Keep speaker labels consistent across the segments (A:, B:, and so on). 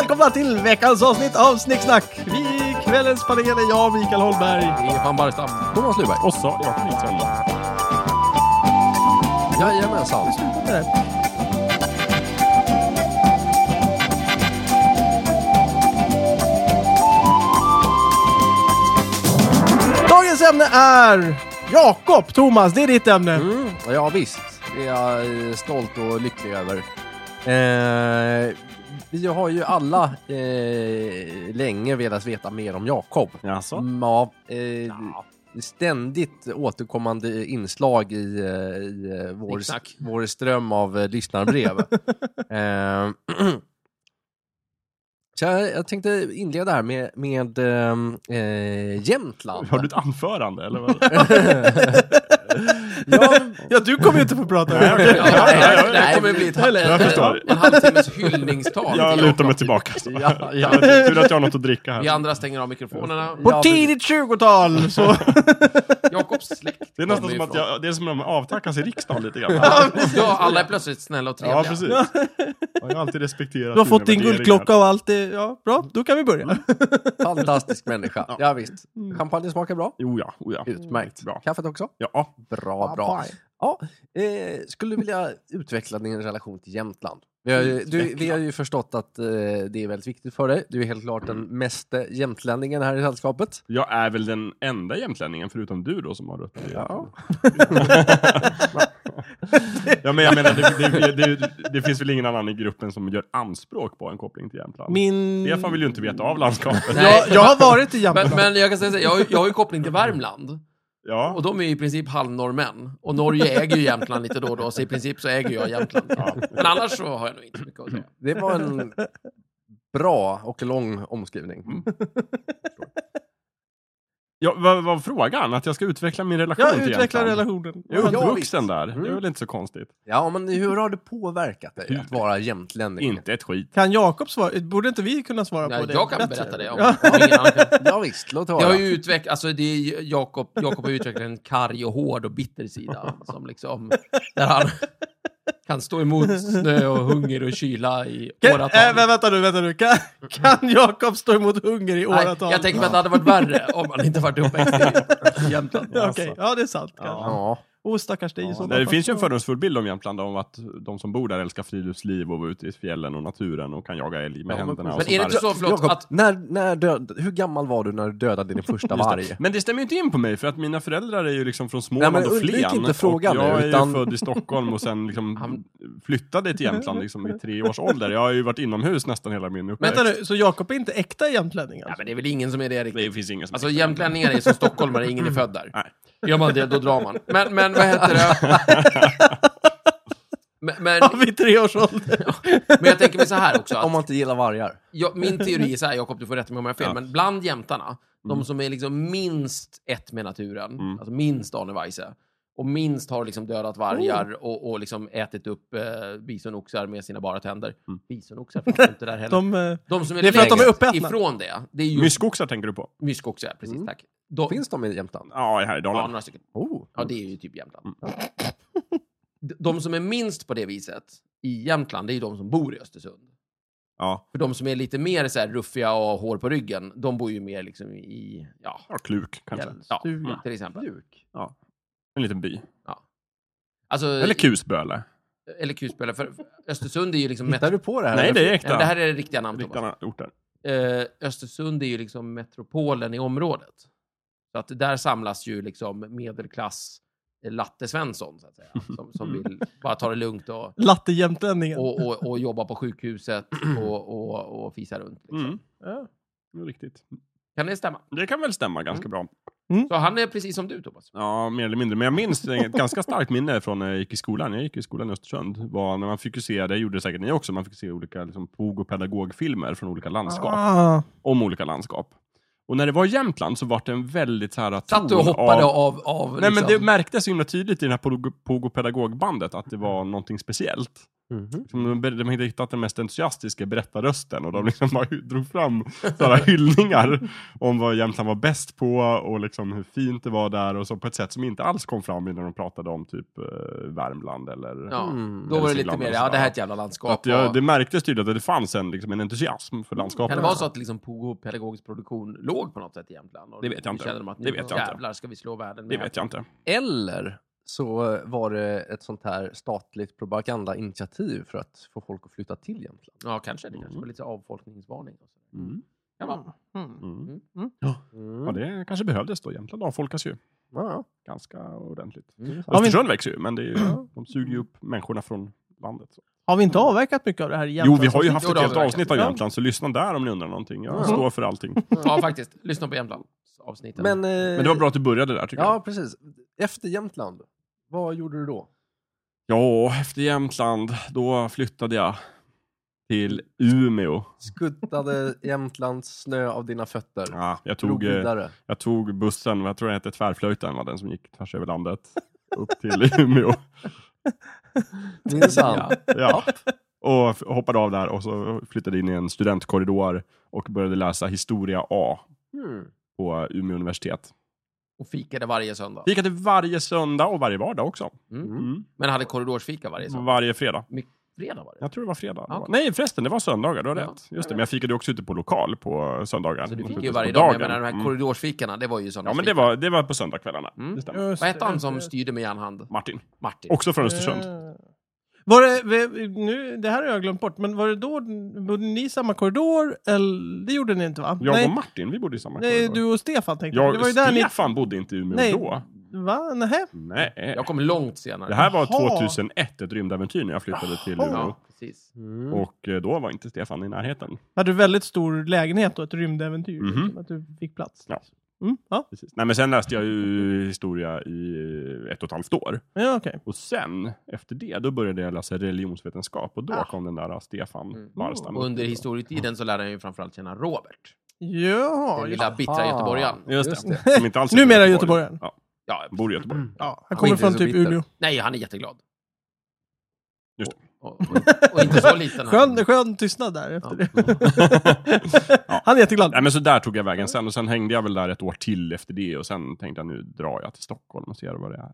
A: välkomna till veckans avsnitt av Snicksnack! Vi i kvällens panel är jag, Mikael Holmberg.
B: Stefan Barstam. Thomas Luberg.
C: Och så Martin Israelsson.
B: Jajamensan.
A: Dagens ämne är Jakob, Thomas, det är ditt ämne.
B: Mm, ja visst, det är jag eh, stolt och lycklig över. Eh, vi har ju alla eh, länge velat veta mer om Jakob.
C: Jaså?
B: Mm, ja, eh, Ständigt återkommande inslag i, eh, i eh, vår,
D: Snicksnack.
B: vår ström av eh, lyssnarbrev. eh, så jag, jag tänkte inleda här med, med ehm, eh, Jämtland.
C: Har du ett anförande eller? Vad?
B: Ja,
A: Ja, du kommer ju inte få prata.
C: Nej, okej.
D: Ja,
C: Ja, ja, ja,
D: det här kommer bli ett hal-
C: Jag förstår.
D: en halvtimmes hyllningstal.
C: Jag lutar mig tillbaka. Så.
B: ja,
C: Ja,
B: ja.
C: tur att jag har något att dricka
D: Vi
C: här.
D: andra stänger av mikrofonerna.
A: På
B: Ja, precis.
A: tidigt 20-tal så...
D: Jakobs släkt
C: Det är nästan
D: kommer
C: som att
D: ifrån-
C: jag, det är som när man avtackas i riksdagen lite grann. Ja,
D: Ja, alla är plötsligt snälla och trevliga.
C: ja precis. Jag har alltid respekterat
A: Du har fått din
C: dina värderingar.
A: guldklocka och allt det. Ja, bra. Då kan vi börja.
B: Fantastisk människa. Ja. visst. Champagne smakar bra.
C: Jo ja, oh, ja.
B: Utmärkt.
C: Bra.
B: Kaffet också?
C: Ja,
B: Bra, bra. Ja, eh, skulle du vilja utveckla din relation till Jämtland? Vi har, ju, du, vi har ju förstått att eh, det är väldigt viktigt för dig. Du är helt klart den meste jämtlänningen här i sällskapet.
C: jag är väl den enda jämtlänningen förutom du då som har rötter i
B: Ja.
C: Ja, men jag menar, det, det, det, det, det finns väl ingen annan i gruppen som gör anspråk på en koppling till Jämtland?
A: Min...
C: Stefan vill ju inte veta av landskapet.
D: Nej.
A: Jag, jag har varit i
D: Men,
A: Jämtland.
D: men jag kan säga så här, jag, har ju- jag har ju koppling till Värmland.
C: Ja.
D: Och de är ju i princip halvnorrmän. Och Norge äger ju Jämtland lite då och då, så i princip så äger jag Jämtland. Men annars så har jag nog inte mycket att säga.
B: Det var en bra och lång omskrivning.
C: Ja, vad var frågan? Att jag ska utveckla min relation
A: Jag
C: till
A: utvecklar
C: Jämtland?
A: relationen.
C: Jag är
B: Ja,
C: uppvuxen
B: visst.
C: där. Det är
B: Mm.
C: väl inte så konstigt?
B: Ja, men hur har det påverkat dig att vara jämtlänning?
C: Inte ett skit.
A: Kan Jakob svara? Borde inte vi kunna svara
D: Nej,
A: på det?
D: jag kan
A: bättre?
D: berätta det om, om ingen annan kan.
B: Ja, visst, låt
D: Det
B: höra.
D: har ju utvecklat, alltså det är ju- Jakob, Jakob har ju utvecklat en karg och hård och bitter sida som liksom, där han kan stå emot snö och hunger och kyla i
A: Kan,
D: åratal.
A: äh, vä- vänta nu, vänta nu. Kan, kan Jakob stå emot hunger i
D: Nej,
A: åratal?
D: jag tänker mig att det hade varit värre om han inte varit uppväxt i i Jämtland.
A: Ja, Okej, ja det är sant kanske.
B: Ja.
A: Åh stackars dig i sådana
C: Alltså. Nej, det
A: fall.
C: finns ju en fördomsfull bild om Jämtland om att de som bor där älskar friluftsliv och vara ute i fjällen och naturen och kan jaga älg med
B: Ja, men-
C: händerna. och
D: Men är det
C: sånt
D: inte
C: där.
D: så, förlåt,
B: Jakob,
D: att
B: när, när död, hur gammal var du när du dödade din första varg?
C: Men det stämmer ju inte in på mig för att mina föräldrar är ju liksom från Småland
B: Nej, men
C: och
B: undvik
C: Flen.
B: inte frågan
C: och jag
B: nu,
C: är
B: utan-
C: ju född i Stockholm och sen liksom
D: Han-
C: flyttade till Jämtland liksom i tre års ålder. Jag har ju varit inomhus nästan hela min uppväxt.
A: Vänta nu, så Jakob är inte äkta jämtlänning
D: Ja,
A: alltså?
D: men det är väl ingen som är det riktigt.
C: Det finns ingen som
D: Alltså jämtlänningar är som stockholmare, ingen är född där.
C: Nej.
D: Gör man det, då drar man. Men, men vad heter det? Men, men,
A: Ja, vid tre års ålder.
D: men jag tänker mig så här också. Att,
B: Om man inte gillar vargar.
D: jag, min teori är så här, Jakob, du får rätta mig om jag har fel,
C: Ja.
D: men bland jämtarna, de som är liksom minst ett med naturen,
C: Mm.
D: alltså minst Arne Weise, och minst har liksom dödat vargar och, och liksom ätit upp eh, bisonoxar med sina bara tänder.
C: Mm.
D: Bisonoxar finns inte där heller. de,
A: De, eh,
D: som är,
A: det är för att de är
D: längst
A: uppätna.
D: ifrån det, det är ju
C: Myskoxar tänker du på?
D: myskoxar, precis,
B: Mm.
D: tack. De,
B: Finns de i Jämtland?
C: Ja, här i
D: ja,
C: Dalarna.
D: några stycken.
B: Oh.
D: Ja, det är ju typ Jämtland.
A: Mm.
D: De- De som är minst på det viset i Jämtland, det är ju de som bor i Östersund.
C: Ja,
D: För de som är lite mer så här ruffiga och har hår på ryggen, de bor ju mer liksom i, ja,
C: ja kluk kanske.
D: ja
A: Stuga.
D: till exempel.
C: En liten by.
D: Alltså,
C: Eller Kusböle.
D: eller Kusböle, för för Östersund är ju liksom...
B: Hittar du på det här?
C: Nej, det är
D: Nej,
C: äkta.
D: det här är riktiga namn, Thomas.
C: Riktiga orter.
D: Eh, Östersund är ju liksom metropolen i området. Så att där samlas ju liksom medelklass eh, Latte Svensson, så att säga. Som, som vill bara ta det lugnt och
A: Latte-jämtlänningen.
D: och, och, och jobba på sjukhuset och, och, och fisa runt. Liksom.
C: Mm.
A: Ja.
C: det är Riktigt. Mm.
D: Kan det stämma?
C: Det kan väl stämma ganska bra.
D: Så han är precis som du, Thomas.
C: Ja, mer eller mindre. Men jag minns ett ganska starkt minne från när jag gick i skolan. Jag gick i skolan i Östersund. Var när man fick ju se, det gjorde säkert ni också, man fick se olika liksom, pog och pedagogfilmer från olika landskap.
A: Ah.
C: Om olika landskap. Och när det var Jämtland så var det en väldigt så här...
D: Satt du
C: ton
D: och hoppade
C: av-
D: av... av
C: Nej, men
D: liksom...
C: det märktes så himla tydligt i det här pog- pog och pedagogbandet att det var någonting speciellt.
B: Mhm.
C: Som de, de hade hittat den mest entusiastiska berättarrösten och de liksom bara drog fram sådana hyllningar om vad Jämtland var bäst på och liksom hur fint det var där och så på ett sätt som inte alls kom fram när de pratade om typ eh, Värmland eller...
D: Ja,
B: Mm.
D: Då var det
C: Eller
D: lite
C: Finland
D: mer,
C: och
D: ja
C: sådär.
D: det här är ett jävla landskap.
C: Att jag,
D: och-
C: det märktes tydligt att det fanns en, liksom, en entusiasm för landskapet.
D: Kan det vara så att liksom Pogo pedagogisk produktion låg på något sätt i Jämtland? Och
C: Det vet jag
D: nu
C: inte.
D: Känner de att nu
C: Det vet jag inte.
D: jävlar ska vi slå världen
C: Det
D: med.
C: vet jag inte.
B: Eller så var det ett sånt här statligt propagandainitiativ för att få folk att flytta till Jämtland.
D: Ja, kanske. Det kanske
C: Mm.
D: var lite avfolkningsvarning. Och så.
C: Mm.
D: Ja, va? Mm.
C: Mm.
B: Mm.
C: Ja, det kanske behövdes då. Jämtland avfolkas ju
B: Ja,
C: ganska ordentligt.
B: Mm.
A: Ja, men-
C: Östersund växer ju, men det är ju, de suger ju upp människorna från landet. Så.
A: Har vi inte avverkat mycket av det här i
C: Jo, vi har ju haft
D: Jo,
C: ett
D: det har
C: helt
D: vi
C: avsnitt av
A: verkligen.
C: Jämtland, så lyssna där om ni undrar någonting. Jag
B: Ja.
C: står för allting.
D: Ja, faktiskt. Lyssna på Jämtlandsavsnitten.
B: Men, eh,
C: Men det var bra att du började där, tycker
B: Ja, precis. Efter Jämtland, vad gjorde du då?
C: jag. Ja, efter Jämtland, då flyttade jag till Umeå.
B: Skuttade Jämtlands snö av dina fötter?
C: Ja, jag,
B: Drog
C: tog, eh,
B: vidare?
C: jag tog bussen, jag tror den hette Tvärflöjten, var den som gick tvärs över landet. Upp till Umeå.
B: Minsann.
C: Ja. Och f- hoppade av där och så flyttade in i en studentkorridor och började läsa historia A
B: Mm.
C: på Umeå universitet.
D: Och fikade varje söndag.
C: Fikade varje söndag och varje vardag också.
D: Mm.
C: Mm.
D: Men hade korridorsfika varje söndag.
C: Varje fredag.
D: Fredag var det.
C: Jag tror det var fredag.
D: Ja, okej.
C: Nej förresten, det var söndagar. Du har
D: Ja,
C: rätt. Just det, men jag fikade också ute på lokal på söndagar.
D: Så du fick ju
C: Naturligtvis
D: varje
C: på
D: dag. Jag
C: dagen.
D: menar, de här
C: mm.
D: korridorsfikarna, det var ju söndagsfika.
C: Ja, men det var, det var på söndagskvällarna.
D: Mm.
C: Det stämmer.
D: Vad hette han som styrde med järnhand?
C: Martin.
D: Martin.
C: Också från Östersund.
A: Eh. Var det, v- nu, det här har jag glömt bort, men var det då, bodde ni i samma korridor? Eller, det gjorde ni inte va?
C: Jag
A: nej,
C: och Martin, vi bodde i samma
A: nej,
C: korridor.
A: du och Stefan tänkte jag. Det var
C: Jag,
A: ju där ni...
C: Stefan bodde inte i Umeå
A: Nej.
C: då.
A: Va? Nähä?
C: Nej.
D: Jag kom långt senare.
C: Det här var
A: Jaha.
C: 2001, ett rymdäventyr, när jag flyttade till
A: Jaha.
C: Umeå.
D: Ja, precis.
B: Mm.
C: Och eh, då var inte Stefan i närheten.
A: Hade du väldigt stor lägenhet och ett rymdäventyr?
C: Mhm.
A: liksom, Att du fick plats?
C: Ja.
A: Mm, ja.
C: Precis. Nej, men sen läste jag ju historia i eh, ett och ett halvt år.
A: ja okej.
C: Och sen, efter det, då började jag läsa religionsvetenskap. Och då
A: Ah.
C: kom den där eh, Stefan
D: Mm.
C: Barstam.
D: Och under historietiden så lärde han ju framförallt känna Robert.
A: Ja,
D: Den
A: just det.
D: lilla bittra
B: Aha.
D: göteborgaren.
C: Just
B: Just
C: det. Som inte alls är
A: Numera
C: från
A: göteborgaren.
C: Ja,
D: Ja,
C: han bor i Göteborg.
A: Ja, han
B: var
A: kommer
B: inte
A: från
B: så
A: typ
B: bitter.
A: Uleå.
D: Nej, han är jätteglad.
C: Just
D: det. Och, och, och inte så liten. han.
A: Skön, skön tystnad där efter
D: Ja.
A: det.
C: Ja.
A: Han är jätteglad.
C: Nej, men så där tog jag vägen sen. Och sen hängde jag väl där ett år till efter det. Och sen tänkte jag, nu drar jag till Stockholm och ser vad det är.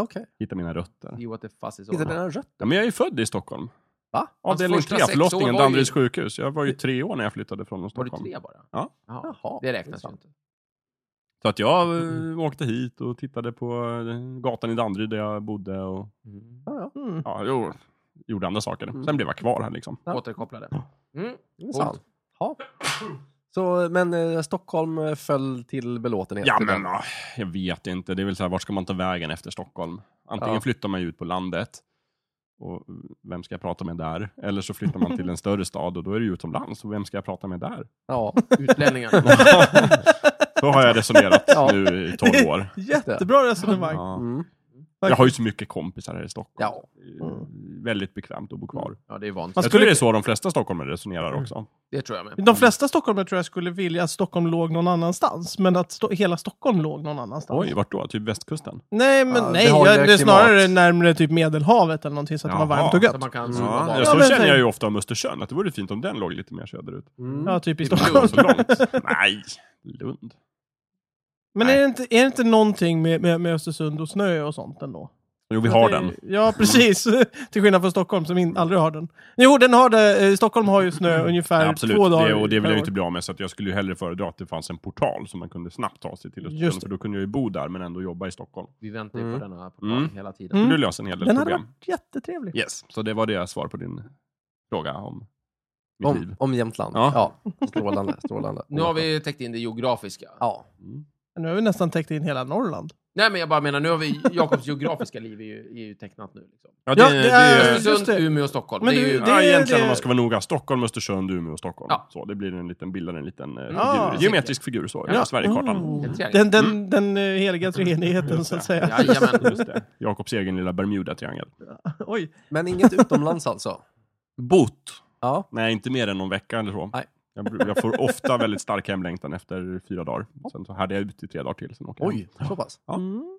B: Okej.
C: Hitta mina rötter.
D: You what the fuss is all
B: Hittade
D: about.
B: dina rötter?
C: Ja, men jag är ju född i Stockholm.
B: Va?
C: Avdelning
D: Alltså, första
C: 3,
D: sex år
C: förlossningen,
D: var ju-
C: Danderyds sjukhus. Jag var ju tre år när jag flyttade från
D: Var du
C: Stockholm.
D: tre bara?
C: Ja.
D: Jaha,
B: Jaha.
D: det räknas ju inte.
C: Så att jag eh, åkte hit och tittade på eh, gatan i Danderyd där jag bodde och
B: Ja, ja.
A: Mm.
C: ja, jo, gjorde andra saker.
B: Mm.
C: Sen blev jag kvar här liksom.
B: Ja.
D: Återkopplade. Mm.
B: Minsann. Ja. Så, men eh, Stockholm eh, föll till belåtenhet?
C: Ja,
B: till
C: men
B: den.
C: ah, jag vet inte. Det är väl så här, vart ska man ta vägen efter Stockholm? Antingen
B: Ja.
C: flyttar man ju ut på landet. Och mm, vem ska jag prata med där? Eller så flyttar man till en större stad och då är det ju utomlands. Och vem ska jag prata med där?
B: Ja.
D: Utlänningar.
C: Så har jag resonerat
B: Ja.
C: nu i 12 år.
A: Jättebra resonemang.
C: Ja.
B: Mm.
C: Jag har ju så mycket kompisar här i Stockholm.
B: Ja.
C: Mm. Väldigt bekvämt att bo kvar.
D: Ja, det är
A: Man
D: vansinnigt.
C: Jag
A: skulle-
C: tror det är så de flesta stockholmare resonerar också.
D: Det tror jag med.
A: De flesta stockholmare tror jag skulle vilja att Stockholm låg någon annanstans, men att sto- hela Stockholm låg någon annanstans.
C: Oj, vart då? Typ västkusten?
A: Nej, men
B: Ja,
A: nej,
B: det håller
A: jag, det är
B: klimat.
A: snarare närmare typ Medelhavet eller någonting så att det var
C: Jaha.
A: varmt och gött.
D: Så man kan
B: Mm.
D: zooma
B: Ja,
D: bara.
C: Ja, så
A: men
C: känner
A: tänk-
C: jag ju ofta om Östersund, att det vore fint om den låg lite mer söderut.
B: Mm.
A: Ja, typ i
D: Det är
A: Stockholm.
C: Så långt. Nej, Lund.
A: Men är det inte, är det inte någonting med, med, med Östersund och snö och sånt ändå?
C: Jo, vi
A: Att
C: har
A: det,
C: den.
A: Ja, precis. Till skillnad från Stockholm som in, aldrig har den. Jo, den har det. eh, Stockholm har ju snö ungefär
C: Ja, absolut,
A: två dagar
C: det, och det vill
A: per
C: jag ju
A: år.
C: inte bli av med, så att jag skulle ju hellre föredra att det fanns en portal som man kunde snabbt ta sig till
A: Just det.
C: Östersund, för då kunde jag ju bo där men ändå jobba i Stockholm.
D: Vi väntar ju
B: Mm.
D: på denna portal
C: Mm.
D: hela tiden.
A: Mm.
C: Skulle lösa en hel del
A: Den hade
C: problem.
A: varit jättetrevlig.
C: Yes, så det var deras svar på din fråga om mitt liv.
B: Om, om Jämtland?
C: Ja.
B: Ja. Strålande, strålande.
D: Nu har vi täckt in det geografiska.
B: Ja.
C: Mm.
A: Nu har vi nästan täckt in hela Norrland.
D: Nej, men jag bara menar, nu har vi Jakobs geografiska liv är ju, är ju tecknat nu. Liksom.
C: Ja,
A: Ja, det är-
C: det
A: just
D: Östersund,
A: det.
D: Umeå och Stockholm.
A: Men
D: det är
A: du-
D: ju...
A: det-
C: Ja, egentligen
A: det-
C: om man ska vara noga. Stockholm, Östersund, Umeå och Stockholm.
D: Ja.
C: Så, det blir en liten, bildar en liten eh, figur.
A: Ja.
C: geometrisk figur så,
A: Ja.
C: ja. Sverigekartan.
A: Oh.
D: En
A: Den,
D: triangel.
A: den, den eh, heliga treenigheten så att säga.
D: Jajamän.
C: Just det. Jakobs egen lilla Bermuda-triangel.
A: Oj.
B: Men inget utomlands alltså?
C: Bott?
B: Ja.
C: Nej, inte mer än någon vecka eller så.
B: Nej.
C: Jag, br- jag får ofta väldigt stark hemlängtan efter fyra dagar. Sen så härdar jag ut i tre dagar till, sen åker jag hem.
B: Oj, så pass?
C: Ja.
A: Mm.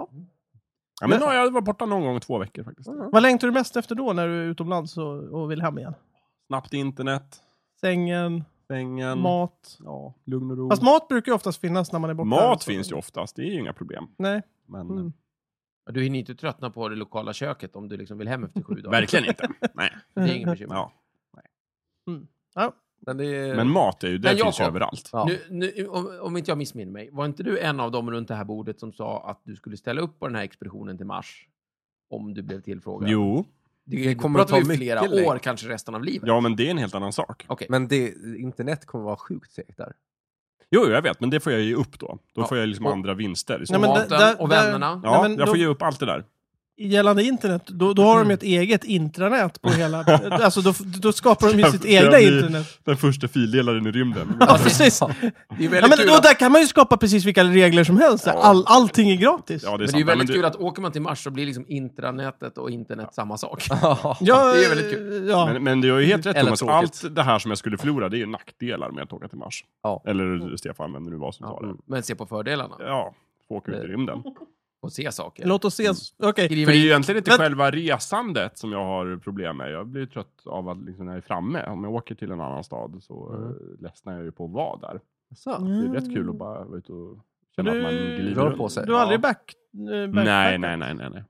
C: Ja, men ja, jag var borta någon gång i två veckor faktiskt.
A: Vad längtar du mest efter då när du är utomlands och, och vill hem igen?
C: Snabbt internet,
A: Sängen,
C: sängen,
A: mat.
C: ja, lugn och ro.
A: Fast mat brukar ju oftast finnas när man är borta.
C: Mm. Mat
A: Så-
C: finns ju oftast, det är ju inga problem.
A: Nej.
C: Men
A: Mm.
D: Du hinner ju inte tröttna på det lokala köket om du liksom vill hem efter sju dagar.
C: eh, verkligen inte.
A: Eh.
C: Nej.
D: Det
A: Mm.
D: är ingen bekymmer.
C: Ja.
B: Men det är...
C: Men mat är ju, det
D: Men
C: finns ju
D: Jakob.
C: överallt.
B: ja.
D: Nu, nu, om, om inte jag missminner mig, var inte du en av dem runt det här bordet som sa att du skulle ställa upp på den här expeditionen till Mars? Om du blev tillfrågad.
C: Jo,
D: det
B: kommer
D: pratar
B: att ta
D: vi flera
B: mycket längre.
D: år, kanske resten av livet.
C: ja men det är en helt annan sak.
D: Okej.
B: Men det, internet kommer vara sjukt segt där.
C: Jo, jag vet, men det får jag ge upp då. Då
D: Ja.
C: får jag liksom
D: Och- andra
C: andra vinster.
A: Nej, men
D: Maten
A: där- där-
D: och
A: där-
D: vännerna.
C: ja,
A: nej, men
C: jag
A: då-
C: får ge upp allt det där.
A: Gällande internet, då, då har de ju
C: Mm.
A: ett eget intranät på hela... alltså då, då skapar de ju
C: Kan-
A: sitt
C: kan
A: egna
C: bli-
A: internet.
C: Den första fildelaren i rymden.
A: Ja, precis.
D: Det är
A: Ja,
D: väldigt
A: men
D: kul
A: då,
D: att,
A: där kan man ju skapa precis vilka regler som helst. där. All, allting är gratis.
C: Ja, det är,
D: men
C: sant.
D: det är ju väldigt
C: men
D: kul att åker man till Mars så blir liksom intranätet och internet samma sak.
A: Ja, eh,
D: det är väldigt
A: Ja.
C: Men, men det är ju helt rätt
B: Eller
C: Thomas,
B: tråkigt.
C: allt det här som jag skulle förlora, det är ju nackdelar med att åka till Mars.
B: Ja.
C: Eller Stefan, vem det nu var som sa det.
D: Men se på fördelarna
C: Ja, få åka ut i rymden.
D: och se saker.
A: Låt oss ses. Okej.
D: Skriva
C: För det är ju
D: in-
C: egentligen inte
A: Men-
C: själva resandet som jag har problem med. Jag blir ju trött av att liksom när jag är framme, om jag åker till en annan stad så
B: Mm.
C: mm. ledsnar jag ju på att vara där.
B: Så.
C: Det är
A: Mm.
C: rätt kul att bara vara ute och känna
A: Du-
C: att man glider
B: Rör
C: runt.
B: på sig.
A: Du har aldrig
C: Ja.
A: back... eh, backpackat?
C: Nej, nej, nej, nej. nej.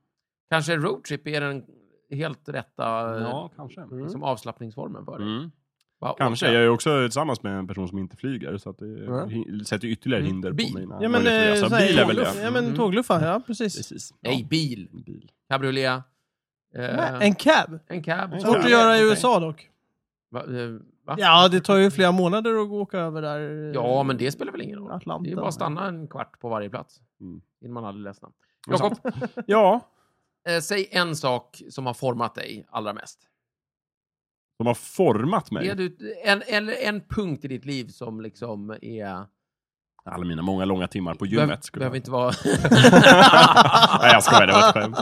D: Kanske en roadtrip är den helt rätta eh,
C: Ja, kanske.
D: liksom, avslappningsformen för dig.
C: Mm.
D: Bara
C: Kanske.
D: åka.
C: Jag är ju också tillsammans med en person som inte flyger, så att det
B: Mm.
C: hi- sätter ytterligare
D: Mm.
C: hinder på
D: Bil.
C: mina
A: Ja, men,
C: möjligheter
A: eh,
C: att resa.
A: såhär,
C: Bil är väl
A: tågluff.
C: det.
A: Ja, men
D: Mm.
A: tågluffa. Ja, precis.
C: Precis.
D: Nej, bil.
C: Bil.
D: Cabriolet. Eh,
A: Nej, en cab.
D: en cab.
A: Svårt att göra i USA dock.
D: Va, eh, va?
A: Ja, det tar ju flera månader att gå- åka över där. eh,
D: Ja, men det spelar väl ingen roll.
A: Atlanten.
D: Det är ju bara att stanna en kvart på varje plats.
C: Mm.
D: Innan man aldrig ledsnar.
C: Men
D: Jakob,
C: Ja,
D: eh, säg en sak som har format dig allra mest.
C: de har format mig.
D: Är du, en, eller en punkt i ditt liv som liksom är...
C: Alla mina många långa timmar på
D: Behöver,
C: gymmet. skulle
D: behöver
C: jag-
D: inte vara...
C: Nej, jag skojar. Det var ett skämt.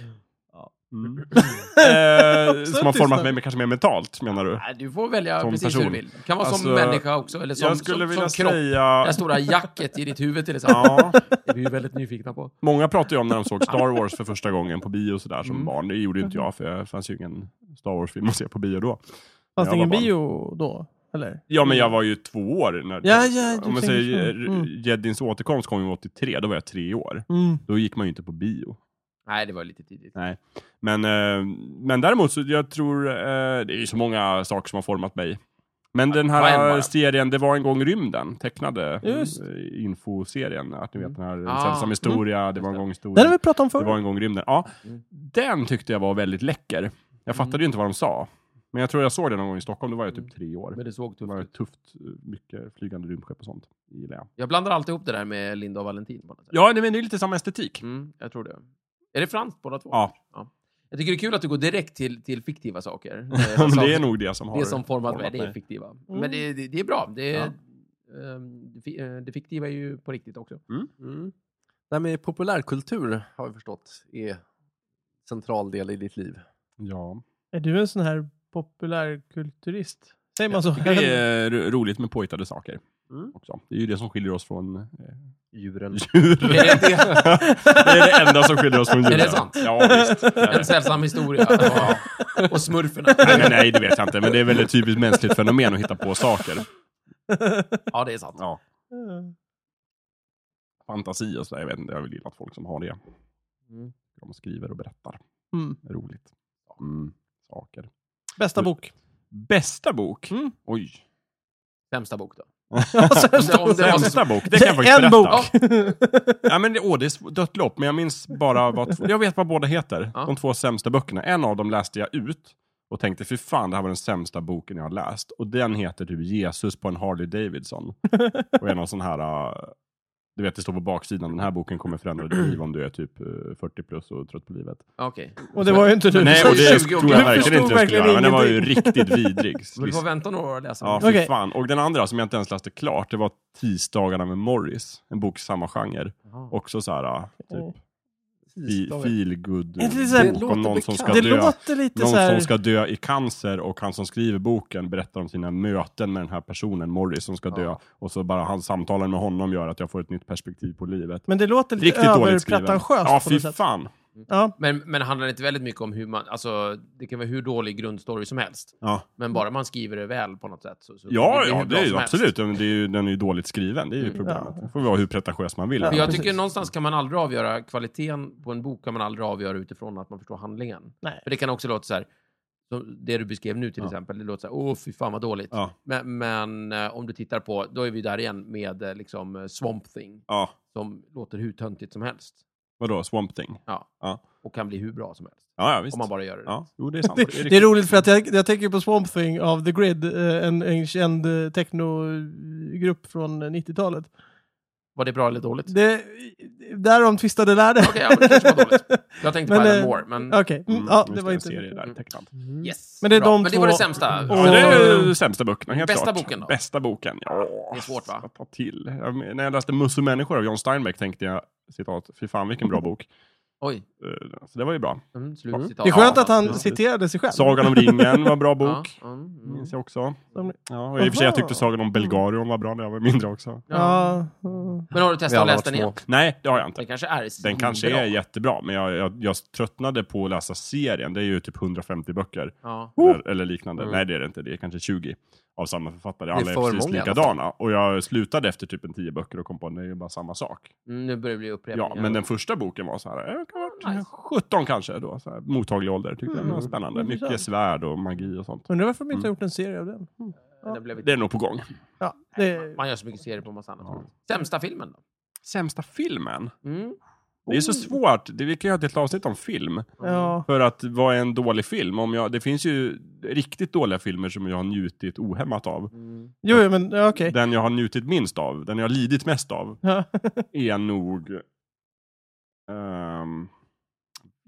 C: Mm. Eh,
A: Också
C: som har
A: tystnad.
C: format mig men kanske mer mentalt, menar du?
D: Nej, du får välja
C: Som
D: precis hur
C: person.
D: du vill. Det kan vara som
C: Alltså,
D: människa också, eller som,
C: jag skulle
D: som,
C: vilja
D: som kropp.
C: säga...
D: Det här stora jacket i ditt huvud till exempel.
C: Ja,
D: Det är vi ju väldigt nyfikna på.
C: många pratade ju om när de såg Star Wars för första gången på bio och sådär som
D: Mm.
C: barn. Det gjorde ju inte jag, för det fanns ju ingen Star Wars-film att se på bio då.
A: Fanns
C: Jag
A: det ingen
C: var barn.
A: bio då? Eller?
C: Ja, men jag var ju två år. När,
A: Ja, ja, du
C: om
A: tänker
C: man säger
A: så. Mm.
C: Jeddins återkomst kom ju 83, då var jag tre år.
A: Mm.
C: Då gick man ju inte på bio.
D: Nej, det var lite tidigt.
C: Nej. Men, eh, men däremot så jag tror, eh, det är ju så många saker som har format mig. Men den
D: vad är den
C: här
D: bara?
C: serien, det var en gång rymden, tecknade
A: Just.
C: eh, infoserien. Att ni vet den här
D: Ah.
C: Sällsam historia, det var en gång
D: det.
A: Den har
C: historia,
A: vi pratat om
C: det var
A: förut.
C: en gång rymden. Ja,
D: Mm.
C: den tyckte jag var väldigt läcker. Jag fattade ju inte vad de sa. Men jag tror jag såg den någon gång i Stockholm, då var jag typ tre år.
D: Men det såg
C: Det
D: tufft
C: var
D: ut.
C: tufft, eh, mycket flygande rymdskepp och sånt. Gillar jag.
D: Jag blandar alltid ihop det där med Linda och Valentin. På något sätt.
C: Ja, nej, men det är lite samma estetik.
D: Mm, jag tror det. Är det franskt båda två?
C: Ja.
D: Jag tycker det är kul att du går direkt till, till fiktiva saker. Eh,
C: Men
D: som-
C: det är nog det som har
D: det som format mig, det är fiktiva. Men det, det, det är bra. Det,
C: Ja.
D: ehm, det fi- eh, det fiktiva är ju på riktigt också.
B: Mm. Nej, men populärkultur har jag förstått är central del i ditt liv.
C: Ja.
A: Är du en sån här populärkulturist? Säger man så?
C: Det är ro- roligt med påhittade saker.
B: Mm.
C: Också. Det är ju det som skiljer oss från eh,
B: Djuren.
C: djur. det är det enda som skiljer oss från djur.
D: Är det sant?
C: Ja, visst.
D: En sällsam historia. Och, och smurferna.
C: Nej, nej, nej, det vet jag inte. Men det är väl ett typiskt mänskligt fenomen att hitta på saker.
D: Ja, det är sant.
C: Ja.
A: Mm.
C: Fantasi och sådär. Jag vet inte, jag vill gilla att folk som har det.
D: Mm.
C: De skriver och berättar.
A: Mm.
C: Det är roligt. Mm. Saker.
A: Bästa bok?
C: Bästa bok?
A: Mm.
C: Oj.
D: Sämsta bok då.
A: Sämsta
D: om det var-
C: Sämsta bok? Det kan jag faktiskt
A: En
C: berätta.
A: bok!
C: Ja, men det, åh, det är sv- dött lopp, men jag minns bara vad två, Jag vet vad båda heter.
D: Ja.
C: De två sämsta böckerna. En av dem läste jag ut och tänkte, fy fan, det här var den sämsta boken jag har läst. Och den heter typ Jesus på en Harley Davidson. och är någon sån här... äh, du vet, det står på baksidan, den här boken kommer förändra ditt liv om du är typ äh, 40 plus och trött på livet.
D: Okej.
A: Och det var ju inte du.
C: Nej, och det
D: 20 år
C: tror jag
D: gammal.
C: verkligen inte jag skulle
A: verkligen
C: göra, men den var ju
A: ingenting.
C: riktigt vidrig.
D: Men Du får vänta några år och läsa.
C: Ja,
D: den.
C: fy
A: Okej.
C: fan. Och den andra som jag inte ens läste klart, det var Tisdagarna med Morris. En bok i samma genre.
D: Jaha.
C: Också så här, äh, ah, typ
B: precis.
C: fe-
B: David.
C: feel good
A: Inte det så här-
C: bok
B: Det
C: om någon
B: låter
C: som ska
B: bekant.
A: Det
C: dö.
A: låter lite
C: Någon
A: så här...
C: som ska dö i cancer och han som skriver boken berättar om sina möten med den här personen, Morris, som ska dö.
B: Ja.
C: Och så bara han samtalen med honom gör att jag får ett nytt perspektiv på livet.
A: Men det låter lite
C: Riktigt dåligt skriven.
A: överpretentiöst
C: Ja,
A: på
C: fy
A: något sätt.
C: fan.
A: Ja.
D: Men, men handlar det inte väldigt mycket om hur man, alltså det kan vara hur dålig grundstory som helst.
C: Ja,
D: Men bara man skriver det väl på något sätt så, så
C: ja,
D: blir
C: ja
D: hur
C: det
D: bra
C: är ju
D: som helst.
C: absolut. Men Det är ju, den är ju dåligt skriven, det är ju
D: Mm.
C: problemet.
A: Ja.
C: Det får vara hur pretentiös man vill.
A: Ja.
D: Men jag
A: precis.
D: tycker någonstans kan man aldrig avgöra kvaliteten på en bok kan man aldrig avgöra utifrån att man förstår handlingen.
A: Nej.
D: För det kan också låta så här, som det du beskrev nu till
C: Ja.
D: exempel, det låter så här, åh fy fan vad dåligt.
C: Ja.
D: Men, men eh, om du tittar på, då är vi där igen med eh, liksom eh, Swamp Thing,
C: ja.
D: som låter hur töntigt som helst.
C: Vadå, Swamp Thing?
D: Ja.
C: Ja.
D: Och kan bli hur bra som helst.
C: Ja, ja visst.
D: Om man bara gör det.
C: Ja, jo, det är sant.
A: Det, det är roligt för att jag, jag tänker på Swamp Thing av The Grid, eh, en, en känd eh, technogrupp från eh, 90-talet.
D: Var det bra eller dåligt?
A: Det, där de tvistade lärde.
D: Okej, ja, men det kanske var dåligt. Jag tänkte
A: Men,
D: på Alan
A: eh,
D: Moore, men
A: Okej, mm,
C: Mm,
A: ja,
C: just
A: det var
C: en
A: inte...
C: serie där,
D: Mm.
C: tecknat.
D: yes.
A: Men det är
D: bra.
A: de
D: men det var det
A: två-
D: sämsta.
C: Ja, men det är
A: Och-
C: ju sämsta böckerna, helt
D: Bästa
C: klart.
D: boken då?
C: Bästa boken, ja.
D: Det är svårt, va?
C: Att ta till. Jag, när jag läste Musse Människor av John Steinbeck tänkte jag, citat, fy fan vilken bra bok.
D: Oj.
C: Eh, Så det var ju bra.
D: Mm,
C: Mm.
D: slutcitat.
A: Det är skönt att
C: Ja,
A: han
C: precis.
A: citerade sig själv.
C: Sagan om ringen var bra
D: Ja,
C: bok.
D: ja, mm.
C: Minns jag också.
A: Som-
C: Ja, och i och för sig jag
A: Aha.
C: tyckte Sagan om Belgarion var bra när jag var mindre också.
D: Ja.
A: Ja. mm.
D: Men har du
B: Vi
D: testat
B: har
D: att
B: alla
D: läsa den
B: varit
D: igen?
C: Nej, det har jag inte.
D: Den kanske är
C: Den kanske
D: bra.
C: är jättebra, men jag, jag, jag tröttnade på att läsa serien. Det är ju typ 150 böcker.
D: Ja.
C: Eller, eller liknande.
B: Mm.
C: Nej, det är det inte. Det är kanske 20 av samma författare.
B: är
C: Alla är,
B: för
C: precis
B: många i alla
C: likadana. Och jag slutade efter typ en 10 böcker och kom på att det är ju bara samma sak.
D: Mm, Nu börjar det bli upprepningar.
C: Ja, men den första boken var så här, eh, kan ha varit
D: Nice.
C: 17 kanske då, så här, mottaglig ålder. Tyckte jag
A: Mm.
C: det var spännande.
A: Intressant.
C: Mycket svärd och magi och sånt.
A: Undrar varför de inte har gjort en serie av den. Mm.
D: Den blev
C: Det är nog på gång.
A: Ja, det,
D: Man gör så mycket serier på en massa annat.
C: Ja.
D: Sämsta filmen då?
C: Sämsta filmen?
D: Mm.
C: Det är
B: Oh.
C: så svårt. Det, vi kan ju ha ett helt avsnitt om film.
A: ja.
C: För att vad är en dålig film? Om jag, det finns ju riktigt dåliga filmer som jag har njutit ohämmat av.
D: Mm.
A: Jo, jo, men ja, okej.
C: Den jag har njutit minst av, den jag har lidit mest av,
A: Ja.
C: är nog... ehm,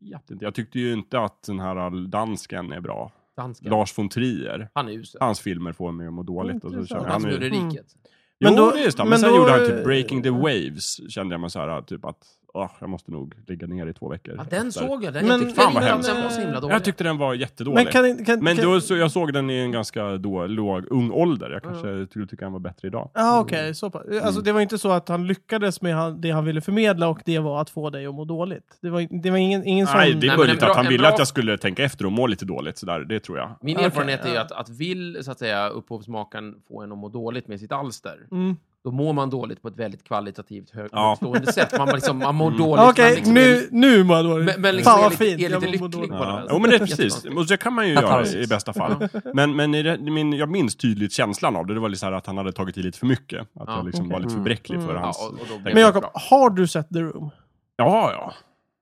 C: jag vet inte. Jag tyckte ju inte att den här dansken är bra.
D: Dansken.
C: Lars von Trier.
D: Han är usel.
C: Hans filmer får mig att må dåligt. Och så
A: Intressant.
C: känner jag,
D: Han
C: han
D: snurrar i
C: är,
A: Mm.
D: riket.
C: jo,
A: Men
C: men,
A: då-
C: visst, men,
A: men
C: sen
A: då-
C: gjorde han typ Breaking the Waves. Kände jag mig så här, typ att åh, jag måste nog ligga ner i två veckor.
D: Ja, den
C: efter.
D: såg jag. Den
A: Men-
D: jag tyckte
C: Fan, vad
D: den
C: hemskt.
D: var så himla dålig.
C: Jag tyckte den var jättedålig.
A: Men kan, kan,
C: Men
A: kan,
C: då, så jag såg den i en ganska då, låg, ung ålder. Jag kanske
D: Mm.
C: skulle tycka han var bättre idag.
A: Ja, okej. så pass.
C: Mm.
A: Alltså, det var inte så att han lyckades med han, det han ville förmedla och det var att få dig att må dåligt. Det var, det var ingen, ingen
C: Nej,
A: sån...
C: det är
D: men
C: möjligt
D: en bra-
C: att han
D: en
C: ville
D: bra-
C: att jag skulle tänka efter och må lite dåligt sådär. Det tror jag.
D: Min
A: Okej,
D: erfarenhet är ju
A: ja.
D: att, att vill så att säga, upphovsmakaren få en att må dåligt med sitt alster,
A: Mm.
D: då mår man dåligt på ett väldigt kvalitativt hög-
C: Ja. Mm.
D: högtstående sätt. Man, bara liksom, man mår dåligt. man
A: Okej,
D: liksom är-
A: nu, nu mår jag dåligt.
D: Men- men liksom
A: Fan
D: är
A: vad
D: lite-
A: fint.
D: är lite
A: Jag mår
D: lycklig.
A: dåligt.
D: Bara-
C: Ja. Jo, men det är precis.
D: Jättekonstigt.
C: Och det kan man ju göra i
B: Katarsiskt.
C: bästa fall. Men, men i det, min, jag minns tydligt känslan av det. Det var lite så här att han hade tagit i lite för mycket. Att
D: Ja.
C: jag liksom var lite för
B: Mm.
C: bräcklig för
A: Mm.
C: hans...
D: Ja, och, och då blir
A: Men
D: det
A: Jakob,
D: bra.
A: har du sett The Room?
C: Ja, ja.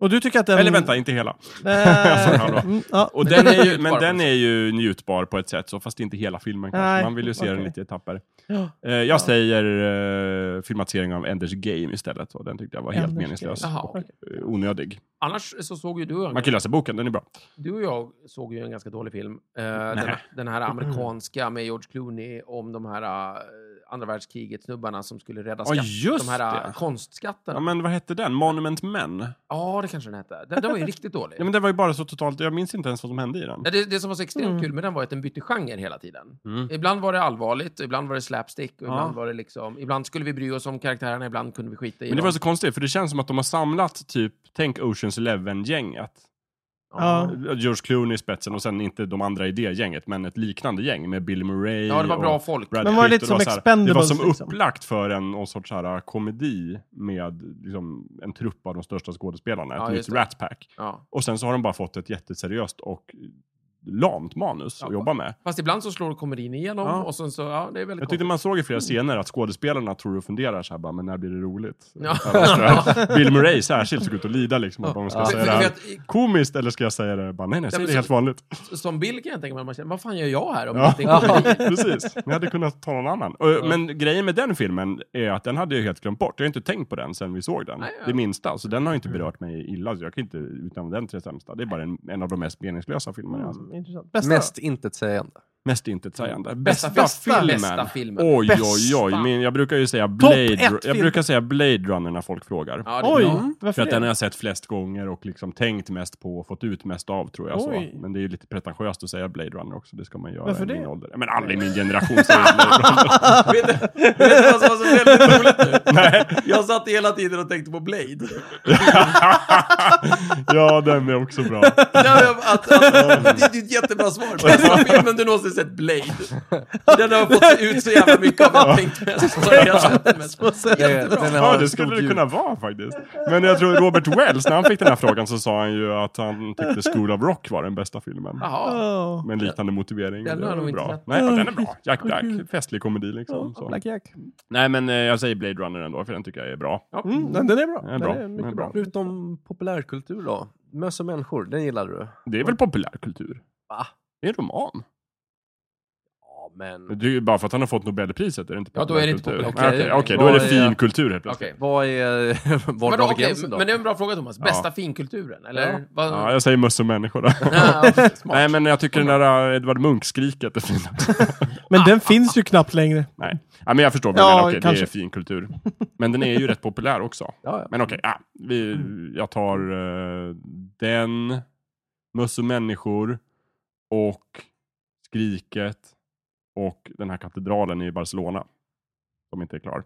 A: Och du tycker att
D: Mm.
A: den...
C: Eller vänta, inte hela.
A: Nej. Mm, ja.
C: Och
D: Men
C: den
D: den är
C: är ju, men den
D: njutbar på något
C: är ju njutbar på ett sätt, så fast inte hela filmen kanske.
A: Nej,
C: Man vill ju se den
A: okej.
C: lite i etapper.
A: Ja.
C: Eh, jag säger eh, filmatisering av Enders Game istället, och den tyckte jag var helt
A: Ender's
C: meningslös.
A: Game.
D: Jaha,
C: och
D: okej.
C: eh, onödig.
D: Annars så såg ju du och
C: Man kan ju läsa boken, den är bra.
D: Du och jag såg ju en ganska dålig film. Eh, den, den här amerikanska med George Clooney om de här eh, andra världskriget-snubbarna som skulle rädda
C: Ja,
D: skatt,
C: just
D: de här eh,
C: det!
D: konstskatterna.
C: Ja,
D: Ja,
C: men vad hette den? Monument Men?
D: det kanske den hette. Den, den var ju riktigt dålig.
C: Ja, men den var ju bara så totalt... Jag minns inte ens vad som hände i den.
D: Ja, det, det som var så extremt
A: Mm.
D: kul med den var att den bytte genre hela tiden.
C: Mm.
D: Ibland var det allvarligt, och ibland var det slapstick, och ibland
C: Ja.
D: var det liksom... Ibland skulle vi bry oss om karaktärerna, ibland kunde vi skita i
C: Men det
D: dem.
C: var så konstigt, för det känns som att de har samlat typ, tänk Oceans Eleven-gänget.
A: Ja.
D: Mm.
C: George Clooney i spetsen och sen inte de andra i det gänget, men ett liknande gäng med Bill Murray
D: Ja, det var
C: och
D: bra folk.
C: Brad
A: Men var det
C: Pitt
A: lite
C: och
A: som
C: så här- Det var
A: Expendables,
C: som
A: liksom?
C: upplagt för en någon sorts så här, äh, komedi med liksom, en trupp av de största skådespelarna,
D: Ja,
C: ett nytt
D: just det.
C: Rat Pack.
D: Ja.
C: Och sen så har de bara fått ett jätteseriöst och lamt manus
D: Ja,
C: att jobba med.
D: Fast ibland så slår komedin igenom,
C: Ja.
D: och sen så... Ja, det är väldigt
C: Jag tyckte man såg i flera scener att skådespelarna tror och funderar så här, bara, men när blir det roligt?
D: Ja.
C: Så här, Bill Murray särskilt såg ut att lida liksom, att bara, man ska
D: konstigt.
C: säga
D: För-
C: det
D: för-
C: här
D: för att-
C: komiskt eller ska jag säga det, bara, nej nej, säg
D: men
C: det
D: så-
C: helt vanligt.
D: Som Bill kan jag tänka mig att man känner, vad fan gör jag här om
C: Ja.
D: det inte är komedi?
C: Precis, ni hade kunnat ta någon annan. Och, Men grejen med den filmen är att den hade jag helt glömt bort. Jag har inte tänkt på den sen vi såg den.
D: Nej, ja.
C: Det minsta. Så den har
A: Mm.
C: inte berört mig illa. Så jag kan inte utnämna den till det sämsta. Det är bara en, en av de mest meningslösa filmerna. jag har sett.
A: Mm, intressant. Bästa
B: Mest intetsägande.
C: Mest intetsägande.
D: Bästa,
C: Bästa,
D: bästa,
C: filmen.
D: bästa filmen.
C: Oj,
A: Bästa.
C: oj, oj. Men jag brukar ju säga Blade,
A: ett
C: Ru- jag
A: film.
C: brukar säga Blade Runner när folk frågar.
D: Ja, det är
A: Oj,
D: bra.
A: varför
C: För att den har
A: det?
C: jag sett flest gånger och liksom tänkt mest på och fått ut mest av tror jag.
A: Oj.
C: Så. Men det är ju lite pretentiöst att säga Blade Runner också. Det ska man göra
A: Varför
C: i
A: det?
C: min ålder. Men alla i min generation säger Blade Runner.
D: Vet du- vet du vad som var så väldigt roligt nu?
C: Nej.
D: Jag satt hela tiden och tänkte på Blade.
C: Ja, den är också bra.
D: Ja, jag- att, att, det är ett jättebra svar. Bästa filmen du någonsin sett, Blade. Den har fått ut så jävla mycket av vad jag tänkte mest. på. Jag har sett den mest.
A: Så sen-
B: Den har
C: Ja, det
B: ett
C: skulle
B: stort
C: det
B: djup.
C: kunna vara faktiskt. Men jag tror Robert Wells, när han fick den här frågan så sa han ju att han tyckte School of Rock var den bästa filmen.
D: Jaha.
A: Åh.
C: Med en liknande motivering.
D: Den
C: Det
D: har
C: är
D: nog inte
C: bra.
D: sett.
C: Nej, ja, den är bra. Jack Black. Festlig komedi liksom. Så.
A: Black Jack.
C: Nej, men eh, jag säger Blade Runner ändå, för den tycker jag är bra.
A: Mm, den, den är bra.
C: Den är bra.
A: Den är mycket
C: Den är bra.
A: bra.
B: Förutom populärkultur då? Möss och människor, den gillade du?
C: Det är väl populärkultur?
B: Va?
C: Det är en roman.
B: Ja, men...
C: Det är ju bara för att han har fått Nobelpriset, är det inte
D: Ja, då är det inte
C: populärkultur? Ah,
D: populär-
C: Okej,
D: okej.
C: okej, då är det
B: Vad är-
C: fin kultur helt plötsligt.
D: Okej.
B: Vad är... Var
D: Men,
B: drar vi
D: okej,
B: gränsen då?
D: men det är en bra fråga Thomas. Bästa
C: Ja.
D: finkulturen, eller?
B: Ja.
D: Vad-
C: Ja, jag säger möss och människor då.
D: Ja, smart.
C: Nej, men jag tycker den där eh, Edvard Munch-skriket är fint.
A: Men den finns ju knappt längre.
C: Nej, ja, men jag förstår. vad du
A: Ja,
C: menar. Okej, det är
A: kanske.
C: fin kultur. Men den är ju rätt populär också.
B: Ja, ja.
C: Men okej, ja, vi,
D: Mm.
C: jag tar eh, den, Möss och människor och Skriket och den här katedralen i Barcelona. Som inte är klar.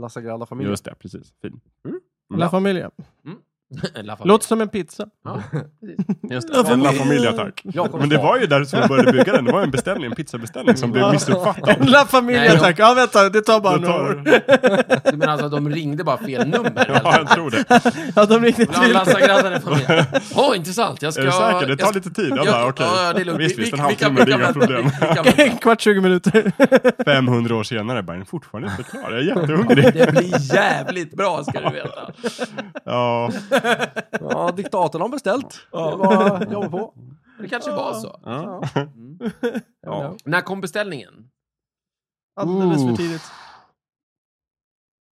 B: La Sagrada Familia?
C: Just det, precis. Fin. Mm.
A: La Familia.
D: La Familia.
A: Låter som en pizza.
D: Ja, precis.
B: Just
A: La
C: La
D: Mm.
C: Familia, tack.
B: Jag kommer
C: Men det
B: ta-
C: var ju där som de började bygga den. Det var en beställning, en pizzabeställning som blev missuppfattad.
A: La Familia,
D: Nej, jag-
A: tack. Ja, vänta. Det tar bara
C: Jag
A: några
C: tar-
A: år.
D: Du menar alltså att de ringde bara fel nummer?
C: Ja, jag tror det.
A: Ja, de ringde
D: Bland
A: till.
D: Lassa Grandane familj. Åh, intressant. Jag ska...
C: Är du säker? Det tar
D: jag-
C: lite tid. Jag
D: jag-
C: bara, okej.
D: Ja, det är lugnt.
C: Visst,
D: Vi-
C: visst, en
D: vi- vi kan-
C: halvtimme,
D: vi
C: det är
D: kan
C: inga problem.
D: vänta. Vi kan vänta.
A: En kvart, 20 minuter.
C: 500 år senare bara, är den fortfarande inte klar? Jag är jättehungrig.
D: Det blir jävligt bra ska du veta.
C: Ja.
B: Ja, diktatorn har beställt. Det var jag var på.
D: Det kanske var så.
C: Ja.
B: Ja.
D: När kom beställningen?
A: Alldeles för
B: Oof.
A: tidigt.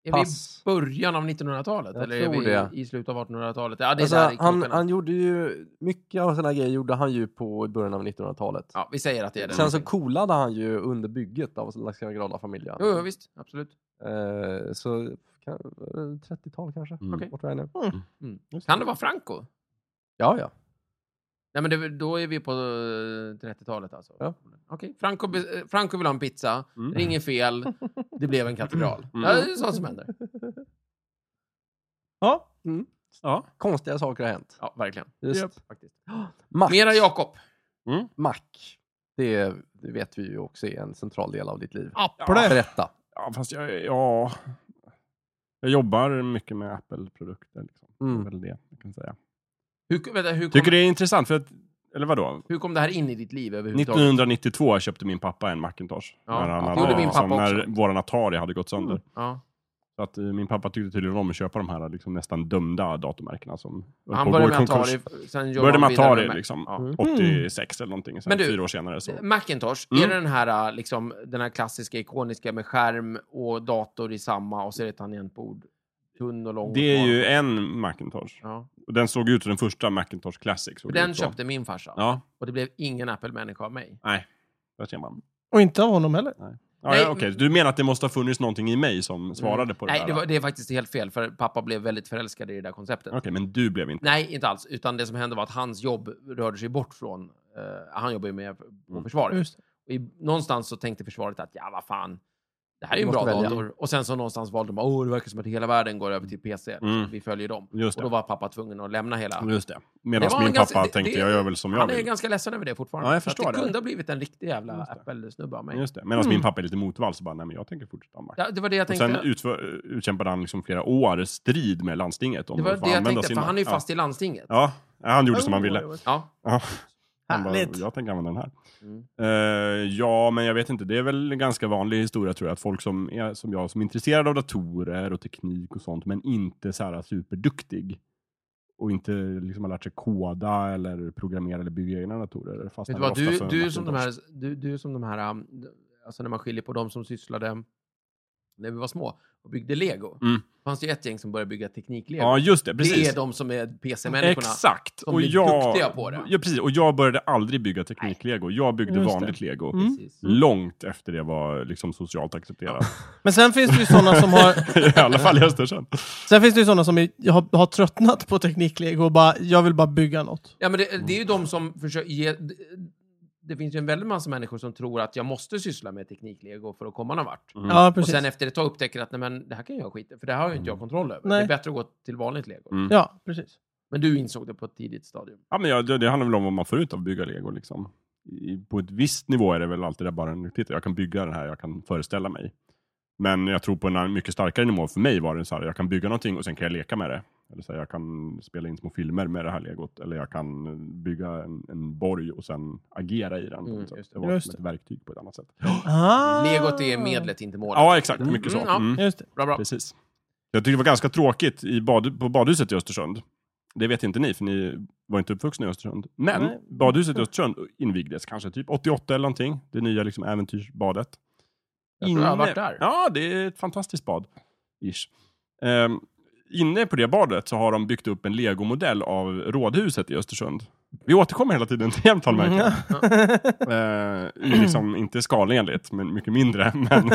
D: Är
B: Pass.
D: vi i början av 1900-talet?
B: Jag
D: Eller är
B: tror
D: vi
B: det.
D: i slutet av 1800-talet? Ja, det är
B: Alltså,
D: där i
B: han,
D: krokarna.
B: han gjorde ju, mycket av sina grejer gjorde han ju på i början av 1900-talet.
D: Ja, vi säger att det är det.
B: Sen så coolade han ju under bygget av La Sagrada Familia.
D: Jo, jo, visst. Absolut.
B: Eh, så kan, eh, 30-tal kanske.
C: Mm.
B: Okej. Vart var jag nu?
D: Kan det vara Franco?
B: Ja, ja.
D: Nej, men det, då är vi på eh, 30-talet alltså.
B: Ja.
D: Okej. Franco, be- eh, Franco vill ha en pizza,
C: Mm.
D: ringer fel, det blev en katedral.
C: Mm.
D: Ja, det är sånt som händer.
A: Ja,
C: Ja.
B: Konstiga saker har hänt.
D: Ja, verkligen.
B: Just,
A: Japp.
B: faktiskt. Mack.
D: Mera Jakob.
B: Mack. Det, är- det vet vi ju också är en central del av ditt liv.
A: Apple.
B: Berätta.
C: ja, fast jag, ja. jag jobbar mycket med Apple-produkter. Liksom. Det är
B: Mm.
C: väl det jag kan säga.
D: Hur, vänta, hur,
C: Tycker
D: kom,
C: det är intressant, för att, eller vadå?
D: hur kom det här in i ditt liv överhuvudtaget?
C: 1992 köpte min pappa en Macintosh.
D: Ja,
C: när
D: det
C: han
D: gjorde
C: hade,
D: min
C: liksom,
D: pappa
C: när
D: också. Mm.
C: våran Atari hade gått sönder.
D: Ja.
C: Så att, eh, min pappa tyckte tydligen om att köpa de här liksom, nästan dömda datormärkena som höll på
D: Han
C: att
D: började
C: gå i
D: med
C: konkurs.
D: Atari, sen jobbade
C: Började med
D: han vidare
C: Atari,
D: Mac.
C: liksom,
D: Ja.
B: Mm.
C: 86 eller någonting. Sen,
D: Men du,
C: fyra år senare så.
D: Macintosh,
C: Mm.
D: är det den här, äh, liksom, den här klassiska ikoniska med skärm och dator i samma och så är det tangentbord? Tunn och lång. och
C: Det är
D: smal.
C: ju en Macintosh.
D: Ja.
C: Och Den såg ut som den första Macintosh Classic. Såg
D: För
C: det
D: Den
C: ut så.
D: köpte min farsa.
C: Ja,
D: Och det blev ingen Apple-människa av mig.
C: nej. Där ser man.
A: och inte av honom heller.
C: Ja,
D: Nej, Mm.
C: ja, okej. Du menar att det måste ha funnits någonting i mig som svarade på det
D: Nej,
C: där?
D: det, var, det är faktiskt helt fel, för pappa blev väldigt förälskad i det där konceptet.
C: Okej, men du blev inte...
D: Nej, inte alls. Utan det som hände var att hans jobb rörde sig bort från... eh, han jobbar ju med på
C: Mm.
D: försvaret.
A: Just.
D: Och i, någonstans så tänkte försvaret att, ja, vad fan, det här är ju en
B: Vi
D: bra
B: måste välja.
D: dator. Och sen så någonstans valde de, åh, det verkar som att hela världen går över till PC.
C: Mm.
D: Vi följer dem.
C: Just
D: Och då
C: det. Mm.
D: var pappa tvungen att lämna hela...
C: Just det. Medan
D: Det var
C: min
D: en
C: pappa
D: ganska- det-
C: tänkte,
D: det-
C: jag gör väl som jag
D: Han är
C: vill.
D: ganska ledsen över det fortfarande.
C: Ja, jag
D: För att
C: förstår
D: det.
C: det.
D: kunde ha blivit en riktig jävla
C: Just det.
D: Apple-snubbe av mig.
C: Just det. Medan
A: Mm.
C: min pappa är lite motvalls, bara, nej men jag tänker fortsätta med Mac.
D: Ja, det var det jag
C: Och
D: tänkte.
C: sen utför, utkämpade han liksom flera år strid med landstinget om
D: det var
C: att få
D: det jag
C: använda
D: tänkte,
C: sin
D: för
C: Mac.
D: han är ju fast i landstinget.
C: Ja. ja, han gjorde som
A: Oh,
C: han ville.
D: Ja.
C: Ja. Han bara,
A: Härligt.
C: jag tänker använda den här.
D: Mm.
C: Eh, ja, men jag vet inte. Det är väl en ganska vanlig historia tror jag. Att folk som, är, som jag, som är intresserade av datorer och teknik och sånt, men inte så här superduktig och inte liksom har lärt sig koda eller programmera eller bygga egna datorer. Fast
D: Vet
C: det
D: du vad,
C: ofta
D: du,
C: för
D: du, är
C: Macintosh.
D: som de här, du, du är som de här, um, alltså när man skiljer på de som sysslade när vi var små och byggde lego.
C: Mm.
D: Det fanns ju ett gäng som började bygga tekniklego.
C: Ja, just det. Precis.
D: det är de som är PC-människorna.
C: Exakt.
D: som blir duktiga på det.
C: Ja, precis. Och jag började aldrig bygga tekniklego. Jag byggde
A: Just det.
C: vanligt lego.
A: Mm.
D: Precis.
C: Långt efter det var liksom socialt accepterat.
A: Men sen finns det ju sådana som har,
C: I alla fall i Östersund.
A: sen finns det ju sådana som är, har, har tröttnat på tekniklego och bara, jag vill bara bygga något.
D: Ja, men det, det är ju
C: Mm.
D: de som försöker ge... Det, det finns ju en väldig massa människor som tror att jag måste syssla med tekniklego för att komma någon vart.
C: Mm.
A: Ja,
D: Och
A: precis.
D: sen efter ett tag upptäcker att nej, men det här kan jag skita för det här har ju inte jag kontroll över.
A: Nej.
D: Det är bättre att gå till vanligt lego.
C: Mm.
A: Ja, precis.
D: Men du insåg det på ett tidigt stadium.
C: Ja, men ja, det, det handlar väl om vad man får ut av att bygga lego. Liksom. I, på ett visst nivå är det väl alltid där bara, en- titta jag kan bygga det här, jag kan föreställa mig. Men jag tror på en annan- mycket starkare nivå, för mig var det så här, jag kan bygga någonting och sen kan jag leka med det. Eller så här, jag kan spela in små filmer med det här legot. Eller jag kan bygga en, en borg och sen agera i den. på
D: Mm,
C: något sätt.
D: just
C: det var
A: Just
C: som ett verktyg på ett annat sätt.
A: Ah.
D: Legot är medlet, inte målet.
C: Ja, exakt. Mycket så.
D: Mm, ja.
C: Mm.
A: Just det.
D: Bra, bra.
C: Precis. Jag tyckte det var ganska tråkigt i bad, på badhuset i Östersund. Det vet inte ni, för ni var inte uppvuxna i Östersund. Men
A: Nej.
C: badhuset i Östersund invigdes kanske typ 88 eller någonting. Det nya liksom äventyrsbadet.
D: Jag tror jag har
C: Inne-
D: varit där.
C: Ja, det är ett fantastiskt bad. Ish. Ehm, inne på det badet så har de byggt upp en legomodell av rådhuset i Östersund. Vi återkommer hela tiden till Jämtland märker jag.
D: Mm.
C: Eh, liksom, inte skalenligt, men mycket mindre. Men,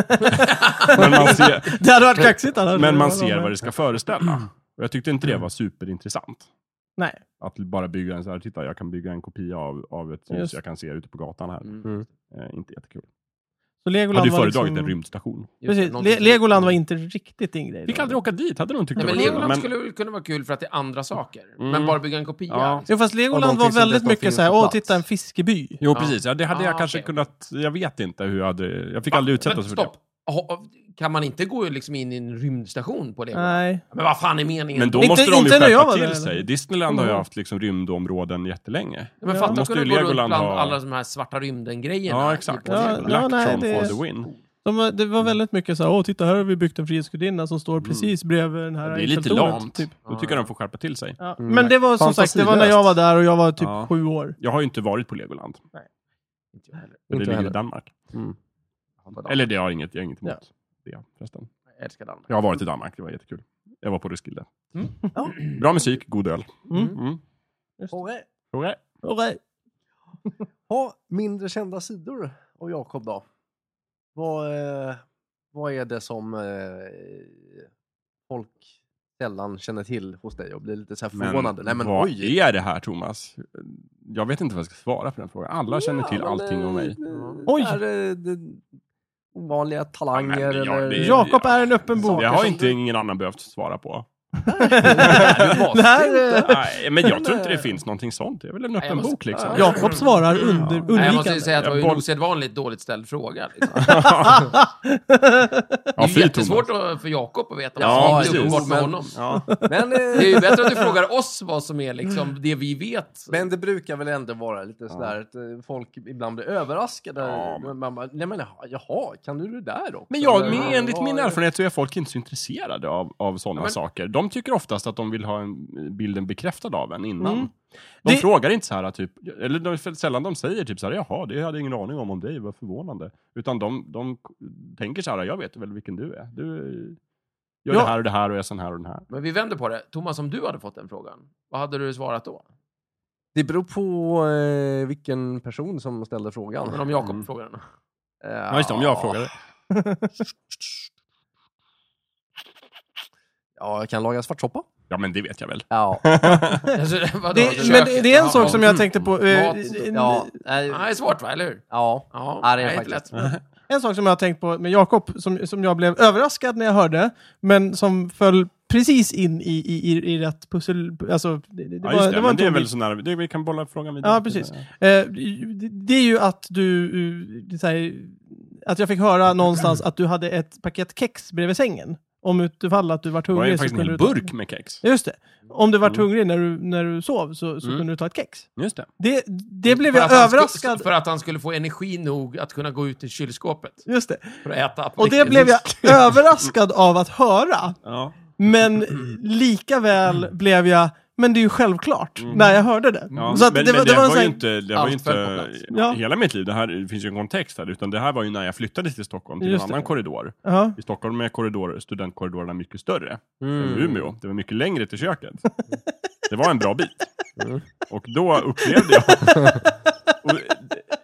C: men man ser,
A: Det hade varit kaxigt annars.
C: men man ser vad det ska föreställa. Och jag tyckte inte
A: Mm.
C: det var superintressant.
A: Nej.
C: Att bara bygga en så här, titta jag kan bygga en kopia av, av ett hus
A: Just.
C: jag kan se ute på gatan här.
D: Mm.
B: Mm.
C: Eh, inte jättekul.
A: Så Legoland
C: Hade ju
A: var
C: föredragit
A: liksom...
C: en rymdstation.
D: Just det,
A: Precis.
D: någonting
A: Le-
D: som-
A: Legoland var inte riktigt din grej. då.
C: Fick aldrig åka dit, hade nog tyckt
D: Nej,
C: det
D: men
C: var kul,
D: Legoland skulle väl kunna vara kul för att det är andra saker.
C: Mm.
D: Men bara bygga en kopia.
C: Ja.
D: liksom.
A: Jo, fast
B: Och
A: Legoland
B: någonting
A: var
B: som
A: väldigt
B: dessutom
A: mycket
B: finns
A: så här,
B: på
A: åh
B: plats.
A: titta en fiskeby.
C: Jo,
D: Ja.
C: precis. Ja, det hade
D: Ah,
C: jag kanske
D: okej. Ah,
C: kunnat... Jag vet inte hur jag hade... Jag fick aldrig utsättas för
D: Stopp! Ha- Kan man inte gå liksom in i en rymdstation på Legoland?
A: Nej.
D: Men vad fan är
C: det.
D: meningen?
C: Men då
A: Inte-
C: måste de ju
A: inte när jag
C: skärpa
A: var
C: till
A: där,
C: sig.
A: eller?
C: Disneyland har ju
A: Mm.
C: haft liksom rymdområden jättelänge.
D: Ja, men
A: Ja.
D: fatta att
C: Måste
D: kunna
C: ju
D: gå runt
C: Legoland
D: bland
C: ha-
D: alla de här svarta rymden-grejerna.
C: Ja, exakt.
D: i- på
A: Ja,
D: Legoland.
A: ja,
C: Lactron
A: nej,
C: for
A: det-
C: the win.
A: De, var- det var väldigt mycket så här, åh titta här har vi byggt en frihetsgudinna som står precis bredvid den här
C: Mm. Det är lite
A: elkontoret",
C: lamt.
A: Typ.
C: Då tycker jag de får skärpa till sig.
A: Ja.
B: Mm.
A: Men det var som sagt, det var när jag var där och jag var typ
C: Ja.
A: sju år.
C: Jag har ju inte varit på Legoland.
D: Inte jag heller.
B: Inte
C: Men det
B: jag
C: ligger i
B: heller.
C: Danmark.
B: Mm.
C: Eller det har jag inget, jag har inget emot. Det, förresten.
D: Jag älskar Danmark.
C: Jag har varit i Danmark, det var jättekul. Jag var på Roskilde.
D: Mm.
B: Ja.
C: Bra musik, god öl.
A: Mm.
C: Mm.
B: Okej.
C: Okej.
A: Okej.
B: Ha mindre kända sidor av Jakob då. Vad, eh, vad är det som eh, folk sällan känner till hos dig och blir lite så här förvånade? Nej men
C: vad
B: oj!
C: är det här Thomas? Jag vet inte vad jag ska svara på den frågan. Alla känner till
B: Ja, men,
C: allting om mig.
B: eh,
A: Oj.
B: Är det, eh, det, ovanliga talanger
C: Ja, men jag-
B: eller?
C: det-
A: Jakob är en öppen bok.
C: Det har inte ingen annan behövt svara på.
A: Det här, eh,
C: Nej, men jag tror inte det finns någonting sånt. Det är väl en
D: Nej, jag
C: öppen
D: måste-
C: bok liksom.
B: Ja.
A: Jakob svarar under,
D: Nej, jag måste ju
A: undvikande.
D: säga att det var ju
C: Boll-
D: en osedvanligt dåligt ställd fråga. Liksom.
C: Ja,
D: det är
C: fy
D: jättesvårt
C: Thomas.
D: att, för Jakob att veta vad
C: Ja,
D: som
C: precis.
D: är uppenbart med
B: Men-
D: honom.
C: Ja.
B: Men, eh,
D: Det är ju bättre att du frågar oss vad som är liksom det vi vet.
B: Men det brukar väl ändå vara lite sådär att eh, folk ibland blir överraskade.
C: Ja, men-
B: men... Man bara, nej men jaha, jaha, kan du det där också?
C: Men jag,
B: Eller,
C: men enligt
B: "Vad
C: min
B: är det?"
C: erfarenhet så är folk inte så intresserade av, av sådana
D: Ja, men-
C: saker. De tycker oftast att de vill ha en, bilden bekräftad av en innan.
A: Mm.
C: De
A: Det-
C: frågar inte så här, typ, eller de, sällan de säger typ så här, jaha, det hade jag ingen aning om om dig, vad förvånande. Utan de, de tänker så här, jag vet väl vilken du är. Du gör
A: Ja.
C: det här och det här och är sån här och den här.
D: Men vi vänder på det. Thomas, om du hade fått den frågan, vad hade du svarat då?
B: Det beror på eh, vilken person som ställde frågan.
D: Men om Jakob
C: Mm.
D: frågar den?
B: Eh,
C: Ja, just det, om jag frågar.
B: Ja, jag kan laga svartsoppa.
C: Ja, men det vet jag väl.
B: Ja.
D: Alltså, vadå,
A: Det,
D: köket?
A: men det, det är en
D: Ja.
A: sak som jag tänkte på. eh,
B: Mat. Ja. Nej,
D: Ja, det är svårt, va? Eller hur?
B: ja.
D: Ja,
B: Ja, det är
D: nej, inte
B: faktiskt-
D: lätt.
A: En sak som jag har tänkt på med Jakob, som, som jag blev överraskad när jag hörde, men som föll precis in i, i, i, i rätt pussel... Alltså, det, det,
C: Ja,
A: var,
C: just det,
A: det var
C: men
A: en
C: det är
A: tom
C: väl
A: bit.
C: sån här, det, vi kan bolla frågan vidare.
A: Ja, precis. Eh, det- det är ju att du... eh, det är så här, att jag fick höra någonstans att du hade ett paket kex bredvid sängen. Om utifall att du var
C: Det var ju
A: hungrig så
C: faktiskt en
A: kunde
C: hel
A: du... ta-
C: burk med kex.
A: Ja, Just det. Om du var
C: Mm.
A: hungrig när du, när du sov så, så
C: Mm.
A: kunde du ta ett kex.
C: Just det.
A: Det, det blev
D: För
A: jag
D: att han sku-
A: överraskad...
D: För att han skulle få energi nog att kunna gå ut till kylskåpet
A: Just det.
D: för att äta. på
A: Och det
D: riktigt.
A: blev jag överraskad av att höra.
C: Ja.
A: Men lika väl blev jag, Men det är ju självklart,
C: Mm.
A: när jag hörde det.
C: Ja,
A: Så att
C: men
A: det
C: det,
A: var-
C: men
A: det
C: det
A: var en
C: var,
A: sån här-
C: ju inte, det var ju
D: Allt föll på
C: inte
D: plats.
A: Ja.
C: hela mitt liv. Det här det finns ju en kontext här. Utan det här var ju när jag flyttade till Stockholm, till
A: Just
C: en
A: det.
C: annan korridor.
A: Ja.
C: I Stockholm är korridor, studentkorridorerna mycket större än
B: Mm.
C: Umeå. Det var mycket längre till köket. Det var en bra bit.
B: Mm.
C: Och då upplevde jag... Och,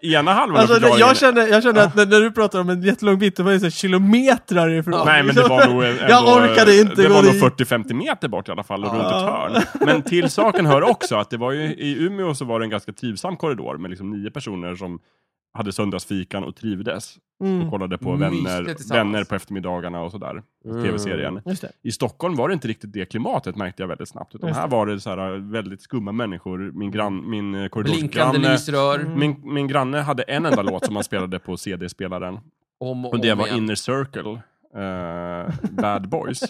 C: ena halvan av
A: Alltså, det-
C: förklaringen-
A: jag känner, jag känner att när, när du pratar om en jättelång bit, det var ju så här kilometrar ifrån.
C: Nej, men det var nog ändå,
A: Jag orkade inte
C: Det
A: gå
C: var nog
A: dit.
C: 40-50 meter bort i alla fall, och runt
A: Ja.
C: ett hörn. Men till saken hör också att det var ju, i Umeå så var det en ganska trivsam korridor med liksom nio personer som hade söndagsfikan och trivdes. Och
A: Mm.
C: kollade på
D: Myste
C: vänner,
D: tillsammans.
C: vänner på eftermiddagarna och sådär.
A: Mm.
C: Tv-serien.
A: Just det.
C: I Stockholm var det inte riktigt det klimatet märkte jag väldigt snabbt. Utan
A: Just
C: här
A: det.
C: var det så här äh, väldigt skumma människor. Min, grann, min eh,
D: Blinkande
C: korridorsgranne.
D: lysrör.
A: Mm.
C: Min, min granne hade en enda låt som han spelade på CD-spelaren.
D: Om och,
C: Och det
D: om
C: var
D: igen.
C: Inner Circle, eh, Bad Boys.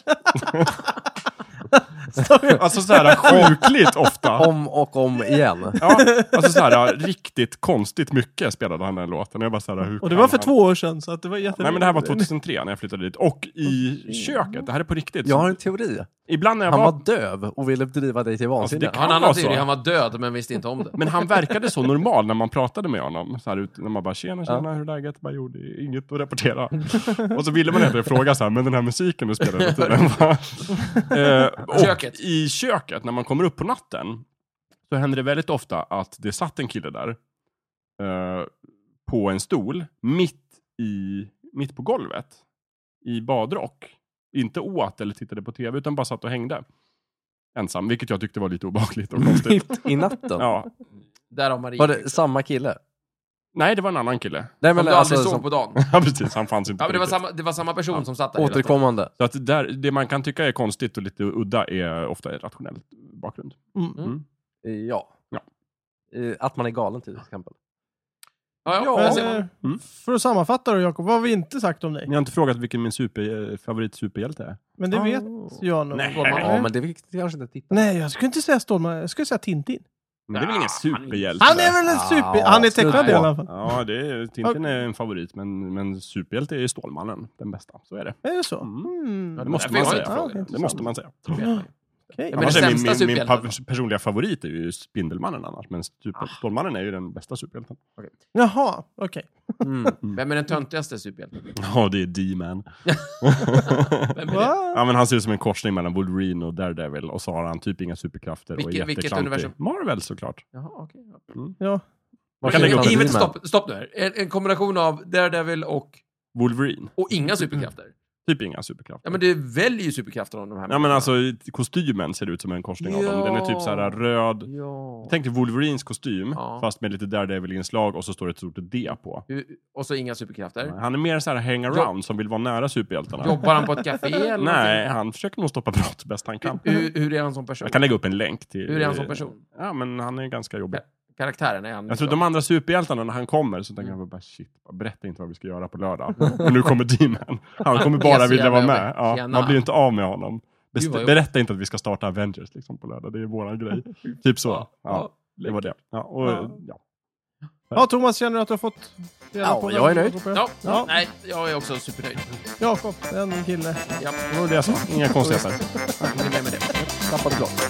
C: Alltså så här sjukligt ofta.
B: Om och om igen.
C: Ja, alltså så här riktigt konstigt mycket spelade han den låten. Jag bara så här, hur
A: Och det
C: kan
A: var för
C: han-
A: två år sedan, så att det var Mm. jätte...
C: Nej men det här var 2003 när jag flyttade dit. Och i köket, det här är på riktigt.
B: Jag har en teori.
C: Ibland när jag
B: Han
C: var...
B: var döv och ville driva dig till
C: Alltså,
B: vansinne.
C: det
D: Jag har en
C: kan
D: annan
C: vara så.
D: teori, han var död men visste inte om det.
C: Men han verkade så normal när man pratade med honom. Så här, ut- när man bara tjena, tjena, hur är läget? Bara, jo, det är inget att rapportera. och så ville man inte fråga så här, men den här musiken du spelar hela tiden. va? eh, och
D: Köket.
C: i köket, när man kommer upp på natten, så händer det väldigt ofta att det satt en kille där eh, på en stol, mitt, i, mitt på golvet, i badrock. Inte åt eller tittade på tv, utan bara satt och hängde. Ensam, vilket jag tyckte var lite obehagligt och konstigt.
B: Mitt i natten.
C: Ja,
D: Därav Marie.
B: Var det samma kille?
C: Nej, det var en annan kille.
B: Nej,
D: Som
B: men
D: du
B: alltså,
D: aldrig såg
B: som
D: på dagen.
C: Ja, precis. Han fanns inte
D: Ja, men det,
C: på
D: var
C: riktigt.
D: samma, det var samma person som satt där hela tiden.
B: återkommande.
C: Så att det där, det man kan tycka är konstigt och lite udda är ofta en rationell bakgrund.
A: Mm.
B: Ja.
C: Ja.
B: Eh, Att man är galen till exempel.
D: Ja, ja.
B: Ja.
D: jag
A: Men,
D: ser vad-
A: eh,
C: Mm.
A: För att sammanfatta då, Jakob, vad har vi inte sagt om dig?
C: Ni har inte frågat vilken min super, eh, favorit superhjälte är?
A: Men det vet jag nog.
C: Nej.
A: Goldman.
B: Ja, men det fick jag kanske inte titta.
A: Nej, jag skulle inte säga Stålman, jag skulle säga Tintin.
C: Men det är väl ingen superhjälte?
A: Han är väl en
B: Ja,
A: super... Han är tecknad i
B: snudd på.
A: alla fall.
C: Ja, det är, Tintin är en favorit, men, men superhjälte är ju Stålmannen. Den bästa. Så är det.
A: Är det så?
C: Mm.
A: Mm.
D: Ja,
C: Det måste
D: Därför
C: man
D: har jag
C: säga.
D: inte frågat.
A: Ja,
C: Det måste man säga.
A: Ja, okej.
D: Ja, men
C: Annars
D: den
C: är min,
D: sämsta
C: min, min
D: superhjälten
C: pa- personliga favorit är ju Spindelmannen annars, men super, Stålmannen är ju den bästa superhjälten.
A: Jaha, okej.
B: Mm.
D: Vem är den töntigaste superhjälten?
C: Ja, det är D-Man.
D: Vem är det?
A: Va?
C: Ja men han ser ut som en korsning mellan Wolverine och Daredevil och så har han typ inga superkrafter och är
D: Vilket- vilket
C: jätteklantig.
D: universum?
C: Marvel såklart.
D: Jaha, okej. ja.
A: Ja.
C: Man kan lägga upp
D: Okej,
C: en
D: vänta, stopp, stopp nu här. En, en kombination av Daredevil och,
C: Wolverine.
D: och inga superkrafter.
C: Typ inga superkrafter.
D: Ja, men du väljer ju superkrafter av de här.
C: Ja, men alltså i- kostymen ser ut som en korsning av dem. Den är typ så här röd.
D: Ja.
C: Tänk dig Wolverines kostym
D: Ja.
C: fast med lite Daredevil-inslag och så står det ett stort D på.
D: Hur- Och så inga superkrafter.
C: Han är mer så här hangaround som vill vara nära superhjältarna.
D: Jobbar han på ett café eller
C: Nej,
D: någonting?
C: han försöker nog stoppa brott bäst han kan.
D: Hur, hur är han som person?
C: Jag kan lägga upp en länk till...
D: Hur är han som person?
C: Ja, men han är ganska jobbig.
D: Karaktären är han.
C: Jag tror Alltså, de andra superhjältarna, när han kommer, så tänker han bara shit, berätta inte vad vi ska göra på lördag. Och nu kommer Demon. Han kommer
D: Jag är
C: bara
D: så
C: vilja
D: jävla
C: vara med.
D: jobbig.
C: Ja,
D: Tjena.
C: man blir ju inte av med honom. Best-
D: Gud, vad jobbigt.
C: berätta inte att vi ska starta Avengers liksom, på lördag, det är våran grej. typ så.
D: Ja.
C: Ja, det var det. Ja, och,
A: Ja.
C: ja.
A: ja, Thomas, känner du att du har fått reda
B: Ja,
A: på
B: jag är
A: vem-
B: nöjd.
D: Ja,
A: Ja.
D: nej, jag är också supernöjd.
A: Jakob, en kille.
D: Ja,
C: det var det jag sa. Inga konstigheter.
D: jag är med med det.
B: Tappade klart.